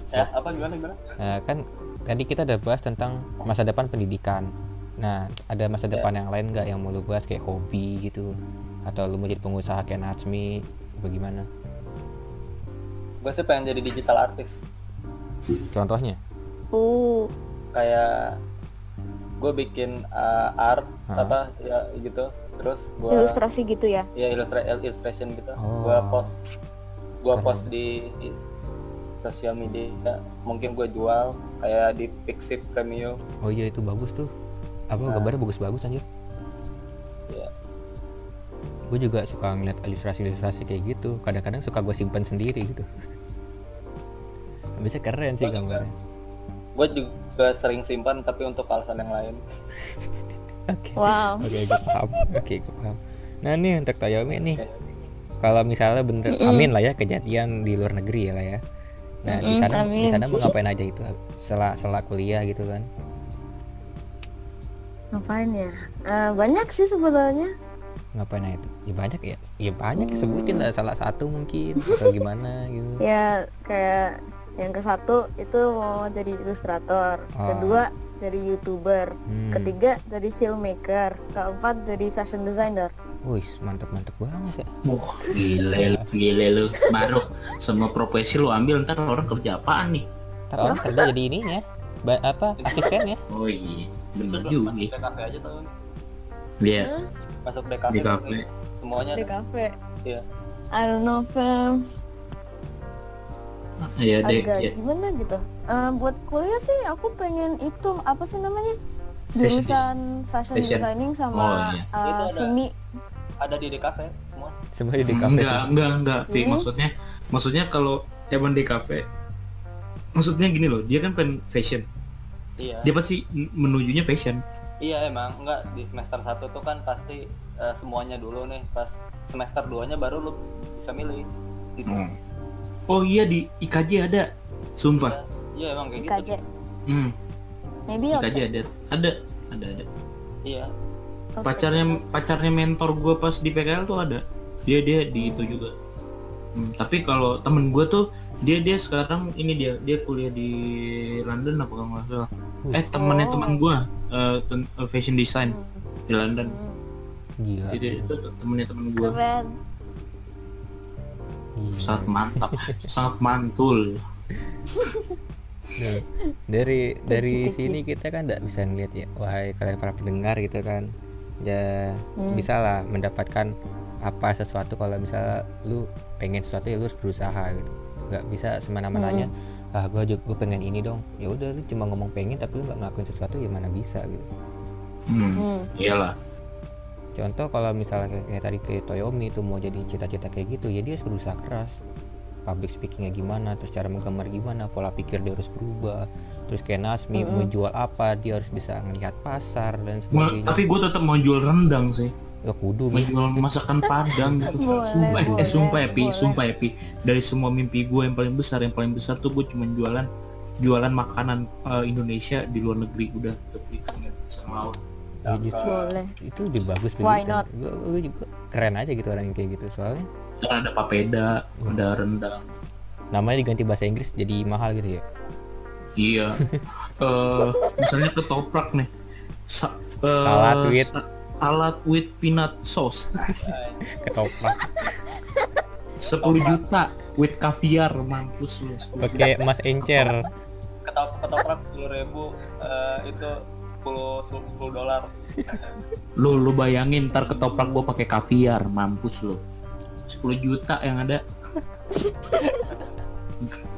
Speaker 3: ya apa gimana gimana
Speaker 1: Nah, kan tadi kita udah bahas tentang masa depan pendidikan. Nah, ada masa depan
Speaker 4: Iya.
Speaker 1: yang lain nggak yang mau lu bahas kayak hobi gitu? Atau lu mau jadi pengusaha kayak Natsmi? Bagaimana?
Speaker 3: gue sih pengen jadi digital artist
Speaker 1: Contohnya?
Speaker 2: Uh,
Speaker 3: kayak gue bikin uh, art
Speaker 1: Hah?
Speaker 3: apa ya gitu terus gue
Speaker 2: ilustrasi gitu ya.
Speaker 3: ya ilustra illustration gitu
Speaker 1: Oh.
Speaker 3: gue post gue
Speaker 1: Keren.
Speaker 3: post di, di sosial media mungkin gue jual kayak di Pixit Premium
Speaker 1: Oh iya itu bagus tuh. Apa
Speaker 4: Nah.
Speaker 1: gambarnya bagus-bagus anjir.
Speaker 3: ya
Speaker 1: Gue juga suka ngeliat ilustrasi-ilustrasi kayak gitu. Kadang-kadang suka gue simpen sendiri gitu. Bisa keren sih gambarnya.
Speaker 3: gue juga sering simpan tapi untuk alasan yang lain
Speaker 1: Oke.
Speaker 2: Wow.
Speaker 1: Oke, gue paham. Oke, gue paham. Nah, nih untuk Toyomi nih. Kalau misalnya bener amin lah ya kejadian di luar negeri ya lah ya. Nah, di
Speaker 2: Mm-mm,
Speaker 1: sana di
Speaker 2: amin.
Speaker 1: sana mau ngapain aja itu setelah setelah kuliah gitu kan.
Speaker 2: Ngapain ya? Eh, banyak sih sebenarnya.
Speaker 1: Ngapain aja itu? Ya banyak ya. Ya banyak sebutin lah salah satu mungkin atau gimana gitu.
Speaker 2: Ya kayak yang ke satu itu mau jadi ilustrator,
Speaker 1: Ah.
Speaker 2: kedua jadi youtuber,
Speaker 1: Hmm.
Speaker 2: ketiga jadi filmmaker, keempat jadi fashion designer.
Speaker 1: Wih, mantep-mantep banget ya.
Speaker 4: Wah, gile, gile lu. Baru semua profesi lu ambil ntar orang kerja apaan nih?
Speaker 1: Ntar orang kerja jadi ininya. Ba- apa asistennya?
Speaker 4: Oh iya, bener
Speaker 3: masuk
Speaker 4: juga.
Speaker 3: DKV aja tuh
Speaker 4: Iya,
Speaker 3: masuk DKV,
Speaker 4: DKV.
Speaker 3: semuanya
Speaker 2: Di kafe.
Speaker 3: Iya.
Speaker 2: I don't know fam.
Speaker 4: iya deh.
Speaker 2: agak
Speaker 4: iya.
Speaker 2: gimana gitu Eh, buat kuliah sih aku pengen itu apa sih namanya
Speaker 4: Fashion
Speaker 2: jurusan fashion
Speaker 4: Fashion.
Speaker 2: designing sama
Speaker 4: Oh, iya.
Speaker 2: eh,
Speaker 3: Itu ada.
Speaker 2: seni
Speaker 3: ada di DKV semua
Speaker 1: Semua di kafe.
Speaker 4: Enggak, enggak, enggak. Pi.
Speaker 2: Hmm?
Speaker 4: maksudnya, maksudnya kalau emang di kafe, maksudnya gini loh, dia kan pengen fashion.
Speaker 3: iya
Speaker 4: Dia pasti n- menujunya fashion.
Speaker 3: Iya emang enggak di semester 1 tuh kan pasti eh, semuanya dulu nih pas semester 2-nya baru lu bisa milih. Gitu.
Speaker 4: Oh iya di IKJ ada. Sumpah.
Speaker 3: Iya emang kayak
Speaker 2: IKJ
Speaker 3: gitu.
Speaker 4: Hmm,
Speaker 2: maybe
Speaker 4: IKJ
Speaker 2: object
Speaker 4: ada. Ada, ada, ada.
Speaker 3: Iya.
Speaker 2: object.
Speaker 4: Pacarnya pacarnya mentor gue pas di PKL tuh ada. Dia dia di itu juga. Hmm, tapi kalau temen gue tuh dia dia sekarang ini dia dia kuliah di London apa kalau nggak salah. Eh temennya
Speaker 2: Oh.
Speaker 4: teman gue eh, ten- eh, fashion design
Speaker 2: Hmm,
Speaker 4: di London.
Speaker 2: hmm.
Speaker 1: Gila.
Speaker 4: Jadi itu temennya temen gue
Speaker 2: keren
Speaker 1: Gila.
Speaker 4: sangat mantap, sangat mantul.
Speaker 1: Nah, dari dari
Speaker 2: Thank you,
Speaker 1: sini kita kan nggak bisa ngelihat ya wahai kalian para pendengar gitu kan ya
Speaker 2: Hmm.
Speaker 1: bisa lah mendapatkan apa sesuatu kalau misalnya lu pengen sesuatu ya lu harus berusaha gitu nggak bisa semena-menanya ah gue juga gua pengen ini dong ya udah lu cuma ngomong pengen tapi lu nggak ngelakuin sesuatu ya mana bisa gitu
Speaker 4: Hmm,
Speaker 2: Hmm.
Speaker 4: iyalah.
Speaker 1: contoh kalau misalnya kayak, kayak tadi ke Toyomi itu mau jadi cita-cita kayak gitu ya dia harus berusaha keras public speakingnya gimana terus cara menggambar gimana pola pikir dia harus berubah terus kayak Nasmi mau jual apa dia harus bisa ngelihat pasar dan
Speaker 4: Gua-
Speaker 1: sebagainya
Speaker 4: tapi gue tetap mau jual rendang sih.
Speaker 1: ya kudu Bi.
Speaker 4: menjual masakan Padang gitu.
Speaker 2: Boleh,
Speaker 4: sumpah, eh,
Speaker 2: boleh,
Speaker 4: sumpah ya, Pi,
Speaker 2: boleh.
Speaker 4: sumpah ya, Pi. Dari semua mimpi gue yang paling besar, yang paling besar tuh gue cuma jualan jualan makanan eh, Indonesia di luar negeri udah the fix nggak bisa ngelawan.
Speaker 1: Ya, justru
Speaker 2: boleh
Speaker 1: itu lebih bagus
Speaker 2: Why
Speaker 1: begitu
Speaker 2: not?
Speaker 1: gue gue juga keren aja gitu orang yang kayak gitu soalnya
Speaker 4: Ntar ada papeda, ada rendang.
Speaker 1: namanya diganti bahasa Inggris jadi mahal gitu ya
Speaker 4: Iya. Eh, misalnya ketoprak nih. Sa- eh,
Speaker 1: Salad with-
Speaker 4: sa- salad with peanut sauce.
Speaker 1: ketoprak
Speaker 4: 10 juta with caviar mampus lu. 10 juta.
Speaker 1: pakai emas encer
Speaker 3: Ketop ketoprak 10.000 eh, itu 10 10 dolar.
Speaker 4: lu lu bayangin ntar ketoprak gua pakai kaviar mampus lu 10 juta yang ada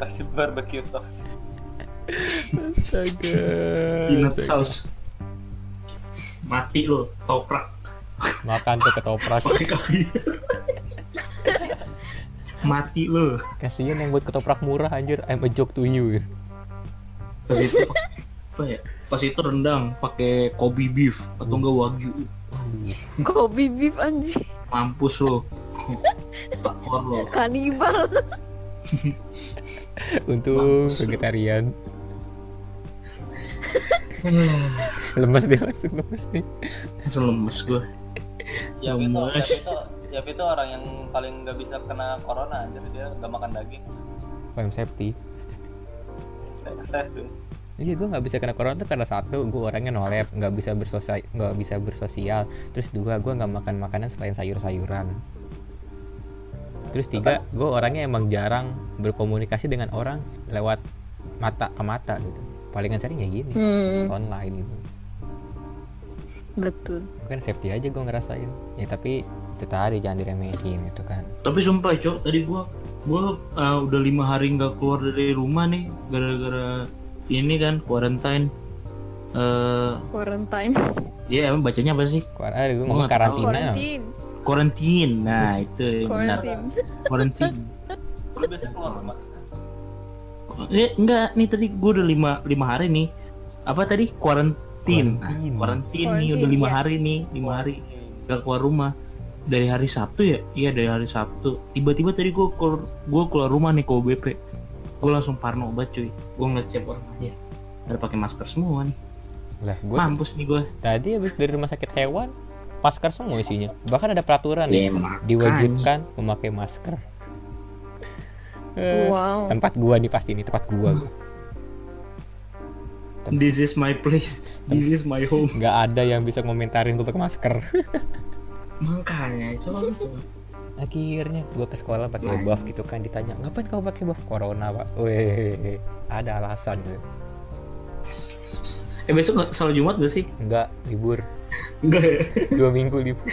Speaker 3: Kasih barbecue sauce.
Speaker 1: astaga Eh,
Speaker 4: peanut sauce mati lu toprak
Speaker 1: makan tuh ketoprak
Speaker 4: pakai kaviar mati lu
Speaker 1: kasihan yang buat ketoprak murah anjir I'm a joke to you
Speaker 4: pas itu apa ya pas itu rendang pakai kobe beef atau enggak wagyu
Speaker 2: kopi beef anjing
Speaker 4: mampus lu tekor lu
Speaker 2: kanibal
Speaker 1: Untung vegetarian. lemes dia langsung lemes nih.
Speaker 4: langsung lemes Hmm, gua
Speaker 3: Ya itu,
Speaker 4: Lemes.
Speaker 3: itu, ya itu orang yang paling nggak bisa kena corona anjir dia nggak makan daging.
Speaker 1: Paham safety.
Speaker 3: sukses tuh
Speaker 1: Iya gue nggak bisa kena corona tuh karena satu gue orangnya nolep nggak bisa bersosial nggak bisa bersosial terus dua gue nggak makan makanan selain sayur-sayuran terus tiga gue orangnya emang jarang berkomunikasi dengan orang lewat mata ke mata gitu palingan sering ya gini
Speaker 5: Hmm,
Speaker 1: online gitu
Speaker 5: betul.
Speaker 1: mungkin safety aja gue ngerasain ya tapi itu tadi jangan diremehin itu kan
Speaker 4: tapi sumpah cok tadi gua gua uh, udah lima hari nggak keluar dari rumah nih gara-gara ini kan quarantine eh
Speaker 5: Quarantine.
Speaker 4: ya emang bacanya apa sih
Speaker 1: Kuar ah, gue
Speaker 4: nggak
Speaker 1: ngomong
Speaker 4: tahu.
Speaker 1: karantina no.
Speaker 5: Quarantine.
Speaker 4: quarantine nah itu yang benar
Speaker 5: Quarantine.
Speaker 4: quarantine
Speaker 3: lu biasanya keluar rumah
Speaker 4: Eh, enggak nih tadi gue udah lima lima hari nih apa tadi quarantine Nah,
Speaker 1: Quarantine.
Speaker 4: quarantine nih udah
Speaker 5: Quarantine,
Speaker 4: lima
Speaker 5: iya.
Speaker 4: hari nih lima hari nggak keluar rumah dari hari Sabtu ya iya dari hari Sabtu tiba-tiba tadi gue keluar gue keluar rumah nih ke OBP gue langsung parno banget cuy gue ngecek orang aja ada pakai masker semua nih
Speaker 1: lah gue
Speaker 4: mampus nih gue
Speaker 1: tadi habis dari rumah sakit hewan masker semua isinya bahkan ada peraturan
Speaker 4: Ya,
Speaker 1: nih
Speaker 4: makanya.
Speaker 1: diwajibkan memakai masker Eh,
Speaker 5: Wow.
Speaker 1: tempat gua nih pasti ini tempat gua gua.
Speaker 4: this is my place this is my home
Speaker 1: nggak ada yang bisa komentarin gua pakai masker
Speaker 4: makanya coba
Speaker 1: akhirnya gua ke sekolah pakai buff gitu kan ditanya ngapain kau pakai buff corona pak weh ada alasan gitu
Speaker 4: eh besok nggak selalu Jumat gak sih
Speaker 1: nggak libur
Speaker 4: enggak ya
Speaker 1: dua minggu libur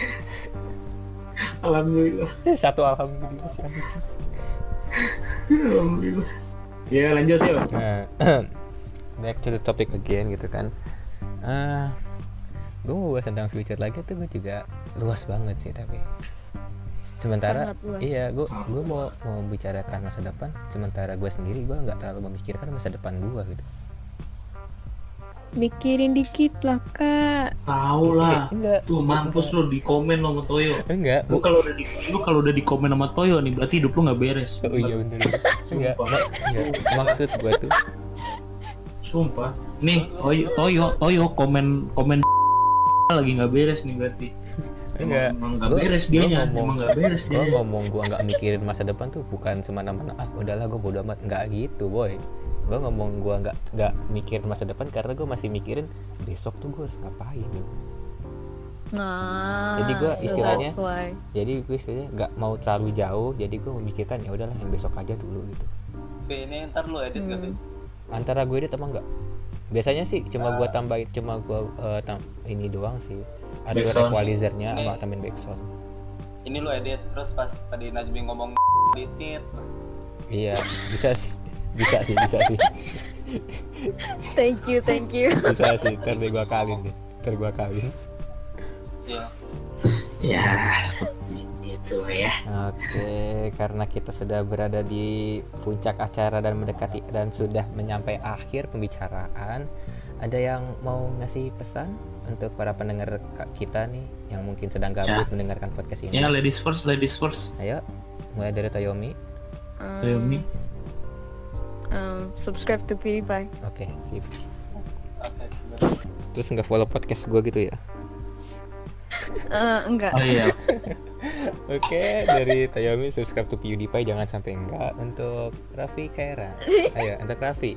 Speaker 4: alhamdulillah
Speaker 1: satu alhamdulillah sih anjing.
Speaker 4: alhamdulillah ya lanjut sih
Speaker 1: Nah, back to the topic again gitu kan eh gue mau bahas tentang future lagi tuh gue juga luas banget sih tapi sementara
Speaker 5: Sangat luas.
Speaker 1: iya gue gue mau mau bicarakan masa depan sementara gue sendiri gue nggak terlalu memikirkan masa depan gue gitu
Speaker 5: Mikirin dikit lah kak.
Speaker 4: tahu lah
Speaker 1: Eh, enggak
Speaker 4: tuh mampus lu di komen lo sama Toyo
Speaker 1: enggak
Speaker 4: lu kalau udah di lu kalau udah di komen sama Toyo nih berarti hidup lu nggak beres
Speaker 1: oh iya bener enggak,
Speaker 4: Sumpah.
Speaker 1: mak- enggak. maksud gue tuh
Speaker 4: Sumpah. Nih, Toyo, Toyo, Toyo komen komen lagi nggak beres nih berarti.
Speaker 1: Enggak.
Speaker 4: Emang emang nggak
Speaker 1: Gua-
Speaker 4: beres
Speaker 1: gua
Speaker 4: dia
Speaker 1: ngomong.
Speaker 4: emang nggak beres dia.
Speaker 1: gue ngomong gue nggak mikirin masa depan tuh bukan semena-mena ah udahlah gue bodo amat nggak gitu boy gue ngomong gue nggak nggak mikirin masa depan karena gue masih mikirin besok tuh gue harus ngapain gitu.
Speaker 5: Nah.
Speaker 1: Jadi gua
Speaker 5: so
Speaker 1: istilahnya-
Speaker 5: that's why.
Speaker 1: jadi gue istilahnya nggak mau terlalu jauh jadi gue memikirkan ya udahlah yang besok aja dulu gitu
Speaker 3: Be, ini ntar lu edit gak tuh?
Speaker 1: antara gue edit sama enggak biasanya sih cuma gue tambahin cuma gue eh, tam- ini doang sih ada
Speaker 4: Backsound.
Speaker 1: equalizernya sama
Speaker 3: Nih.
Speaker 1: tambahin backsound
Speaker 3: Ini lu edit terus pas tadi Najmi ngomong edit.
Speaker 1: iya bisa sih bisa sih bisa sih
Speaker 5: Thank you, thank you.
Speaker 1: bisa sih ntar deh gue kalin deh ntar gue kalin
Speaker 3: Ya,
Speaker 4: Ya, seperti itu ya.
Speaker 1: Oke, karena kita sudah berada di puncak acara dan mendekati dan sudah menyampai akhir pembicaraan, ada yang mau ngasih pesan untuk para pendengar ka- kita nih yang mungkin sedang gabut mendengarkan podcast ini?
Speaker 4: Ya, ladies first, ladies first.
Speaker 1: Ayo, mulai dari Toyomi.
Speaker 4: Toyo Mi.
Speaker 5: Um, subscribe to PewDiePie.
Speaker 1: Oke, sip.
Speaker 3: oke.
Speaker 1: Terus nggak follow podcast gue gitu ya?
Speaker 5: Eh, enggak.
Speaker 4: Oh iya.
Speaker 1: Oke, dari Toyomi subscribe to PewDiePie jangan sampai enggak. Untuk Raffi Kaira, ayo untuk Raffi.
Speaker 3: Eh,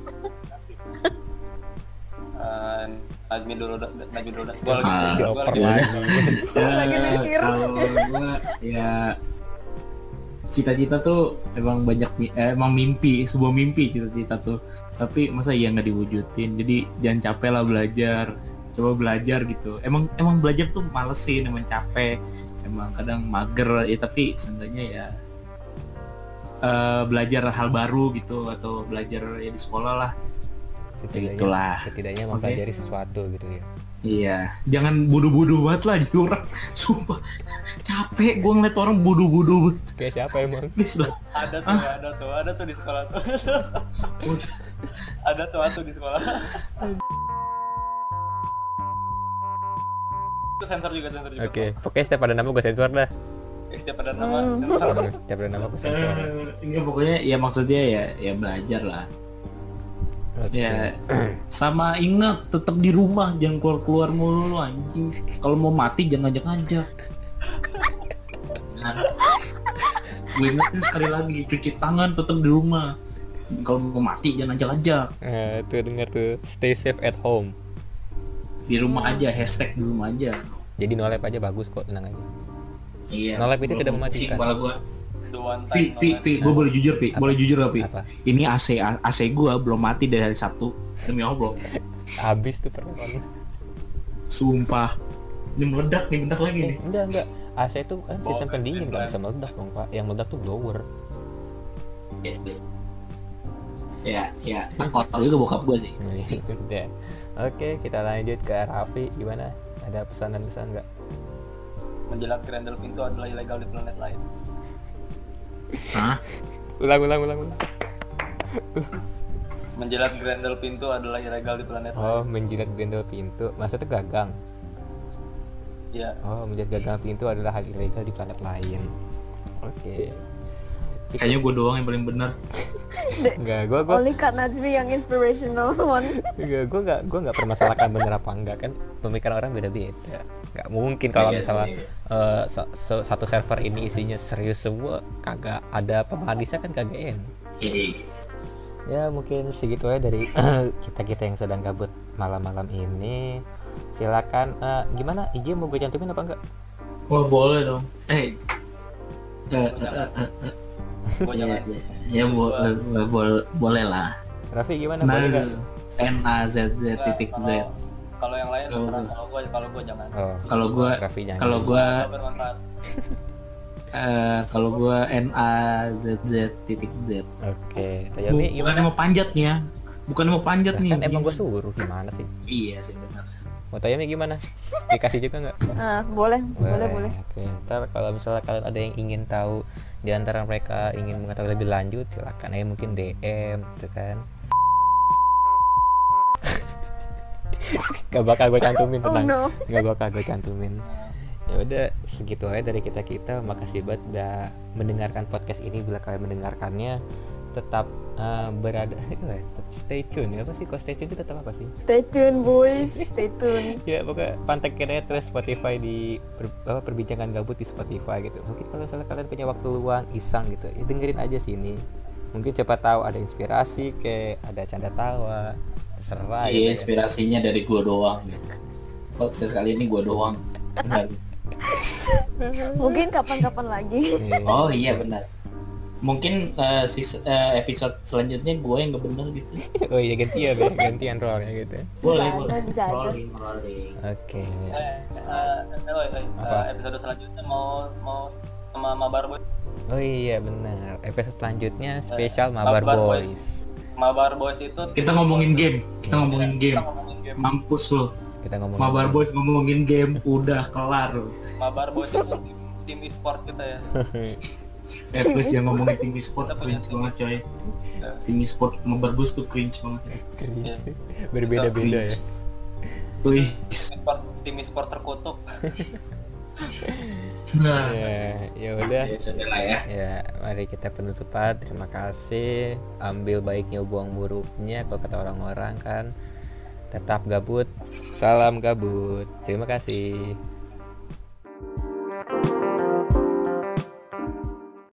Speaker 3: Najmi dulu, dah, Najmi dulu. dah. Gua lagi,
Speaker 4: Ah,
Speaker 3: gua
Speaker 1: Dioper
Speaker 3: lagi.
Speaker 1: lagi.
Speaker 5: Lagi mikir.
Speaker 4: Ya, kalau gua ya cita-cita tuh emang banyak mi- eh, emang mimpi sebuah mimpi cita-cita tuh tapi masa iya nggak diwujudin jadi jangan capek lah belajar coba belajar gitu emang emang belajar tuh malesin emang capek emang kadang mager ya tapi seenggaknya ya eh, belajar hal baru gitu atau belajar ya di sekolah lah
Speaker 1: Setidaknya,
Speaker 4: Begitulah.
Speaker 1: setidaknya
Speaker 4: Oke.
Speaker 1: mempelajari sesuatu gitu ya.
Speaker 4: Iya, jangan bodoh-bodoh banget lah jadi orang. Sumpah, capek gue ngeliat orang bodoh-bodoh banget.
Speaker 1: Kayak siapa emang?
Speaker 4: Please lah.
Speaker 3: Ada tuh,
Speaker 4: Ah.
Speaker 3: ada tuh, ada tuh di sekolah tuh. ada tuh, ada tuh di sekolah. Itu sensor juga, sensor juga.
Speaker 1: Oke, pokoknya setiap ada nama gue sensor dah.
Speaker 3: Eh, Setiap ada nama, sensor.
Speaker 1: Iya, setiap ada nama gue sensor.
Speaker 4: Enggak pokoknya ya maksudnya ya ya belajar lah.
Speaker 1: Oke.
Speaker 4: Ya sama ingat tetap di rumah jangan keluar-keluar mulu lu anjing. Kalau mau mati jangan ngajak-ngajak. kan Nah, gue ingetin sekali lagi cuci tangan tetap di rumah. kalau mau mati jangan ajak-ajak
Speaker 1: Eh, tuh denger tuh stay safe at home.
Speaker 4: di rumah aja hashtag di rumah aja
Speaker 1: Jadi no lab aja bagus kok, tenang aja.
Speaker 4: iya
Speaker 1: No lab Nah, itu
Speaker 4: Kalau
Speaker 1: tidak
Speaker 4: gua pusing
Speaker 1: mematikan.
Speaker 4: kepala gua
Speaker 3: The one time
Speaker 4: Pi, Pi,
Speaker 3: no
Speaker 4: Pi, gue boleh jujur, Pi.
Speaker 1: Apa?
Speaker 4: Boleh jujur gak, Pi?
Speaker 1: Apa?
Speaker 4: Ini AC A- AC gue belum mati dari hari Sabtu. Demi Allah,
Speaker 1: Habis tuh perempuan.
Speaker 4: sumpah. Ini meledak nih bentar lagi
Speaker 1: Eh,
Speaker 4: nih.
Speaker 1: enggak enggak. AC itu kan
Speaker 3: Bawa
Speaker 1: sistem
Speaker 3: fan
Speaker 1: pendingin nggak
Speaker 3: fan.
Speaker 1: bisa meledak dong pak. Yang meledak tuh blower.
Speaker 4: Ya, ya. Kotor itu bokap gue sih.
Speaker 1: Nah, itu dia. Oke kita lanjut ke Raffi gimana? Ada pesanan-pesan nggak?
Speaker 3: menjilat kerendel pintu adalah ilegal di planet lain.
Speaker 4: Hah?
Speaker 1: Ulang ulang ulang. ulang.
Speaker 3: Menjilat kerendel pintu adalah ilegal di planet lain.
Speaker 1: Oh menjilat gendol pintu. Maksudnya gagang.
Speaker 3: Iya.
Speaker 1: Oh menjilat gagang pintu adalah hal ilegal di planet lain. Oke.
Speaker 4: Kayaknya gue doang yang paling benar.
Speaker 1: Enggak, gua gua
Speaker 2: Only Kak Najmi yang inspirational one.
Speaker 1: Enggak, gue nggak gue nggak permasalahkan bener apa enggak kan pemikiran orang beda-beda. Nggak mungkin kalau
Speaker 4: Iya
Speaker 1: misalnya
Speaker 4: sih.
Speaker 1: eh, sa- se- satu server ini isinya serius semua, kagak ada pemanisnya kan kagak enak.
Speaker 4: Iya.
Speaker 1: Ya mungkin segitu aja dari kita kita yang sedang gabut malam-malam ini. Silakan eh, gimana IG mau gue cantumin apa enggak?
Speaker 4: Wah, boleh dong. Eh. Eh, eh, eh, eh,
Speaker 3: Gua jangan.
Speaker 4: ya, ya, bo- eh, bo- bo- boleh lah.
Speaker 1: Raffi gimana? Boleh nggak?
Speaker 4: Naz Nah, N A Z
Speaker 3: Enggak,
Speaker 4: Z iya, titik Z.
Speaker 3: kalau- Kalau yang lain
Speaker 4: Kalau
Speaker 3: terserah.
Speaker 4: gua.
Speaker 3: Kalau gua kalau gua jangan.
Speaker 1: Oh,
Speaker 4: Kalau gue,
Speaker 1: Raffi jangan.
Speaker 4: kalau gue,
Speaker 3: Kalau bermanfaat.
Speaker 4: eh, kalau gue N A Z Z titik Z.
Speaker 1: Oke, Toyomi
Speaker 4: Bu-
Speaker 1: Ya, gimana?
Speaker 4: bukan mau panjat nih ya bukan mau panjat
Speaker 1: Lah,
Speaker 4: nih
Speaker 1: kan emang gue suruh gimana sih?
Speaker 4: iya sih benar
Speaker 1: Mau Toyomi gimana? Dikasih juga nggak?
Speaker 2: Ah, boleh, boleh, boleh.
Speaker 1: Oke, ntar kalau misalnya kalian ada yang ingin tahu di antara mereka ingin mengetahui lebih lanjut, silakan aja mungkin DM gitu kan. Gak bakal gue cantumin
Speaker 2: Oh
Speaker 1: tenang.
Speaker 2: no.
Speaker 1: Gak bakal gue cantumin. Ya udah segitu aja dari kita kita. Makasih banget udah mendengarkan podcast ini. Bila kalian mendengarkannya, tetap eh, berada stay tune ya apa sih? Kok stay tune itu tetap apa sih?
Speaker 2: Stay tuned boys, stay tuned.
Speaker 1: ya pokoknya pantekin aja terus Spotify di per- apa, perbincangan gabut di Spotify gitu mungkin kalau misalnya kalian punya waktu luang iseng gitu ya dengerin aja sini mungkin siapa tahu ada inspirasi kayak ada canda tawa terserah
Speaker 4: iya
Speaker 1: gitu ya.
Speaker 4: inspirasinya dari gua doang gitu. podcast kali ini gua doang benar
Speaker 2: Mungkin kapan-kapan lagi.
Speaker 1: Iya.
Speaker 4: oh iya benar mungkin eh, sis- eh, episode selanjutnya gua yang gak benar gitu
Speaker 1: oh iya gantian ya gantian role nya gitu
Speaker 4: boleh
Speaker 2: aja,
Speaker 4: boleh
Speaker 2: bisa aja.
Speaker 4: rolling rolling
Speaker 1: oke
Speaker 3: Eh, eh, eh, oi, oi, eh,
Speaker 1: Apa?
Speaker 3: episode selanjutnya mau mau sama Mabar Boys.
Speaker 1: oh iya benar episode selanjutnya spesial Mabar
Speaker 3: Mabar Boys.
Speaker 1: Boys
Speaker 3: Mabar Boys itu
Speaker 4: kita ngomongin game kita
Speaker 1: Iya.
Speaker 4: ngomongin game
Speaker 3: Kita ngomongin game.
Speaker 4: mampus lo
Speaker 1: kita ngomong
Speaker 4: mabar boys ngomongin game udah kelar lo
Speaker 3: Mabar Boys itu tim, tim e-sport kita ya.
Speaker 4: eh
Speaker 2: Tim
Speaker 4: please jangan ngomongin tim e-sport
Speaker 3: Kita punya
Speaker 4: cringe banget coy
Speaker 1: Iya.
Speaker 4: tim e-sport mabar boys tuh cringe banget
Speaker 1: berbeda beda ya
Speaker 4: please
Speaker 3: Tim e-sport, tim e-sport terkutuk.
Speaker 4: nah
Speaker 1: ya ya udah
Speaker 4: ya sudah lah ya
Speaker 1: Ya, mari kita penutupan. Terima kasih. Ambil baiknya, buang buruknya. Kalau kata orang-orang kan, tetap gabut. Salam gabut. Terima kasih.